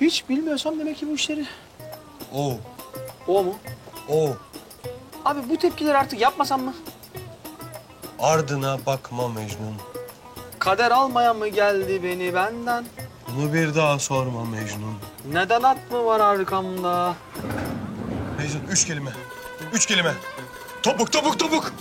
Hiç bilmiyorsam demek ki bu işleri. Oo. O mu? Oo. Abi bu tepkileri artık yapmasam mı? Ardına bakma Mecnun. Kader almaya mı geldi beni benden? Bunu bir daha sorma Mecnun. Neden at mı var arkamda? Mecnun üç kelime. Üç kelime. Topuk topuk topuk.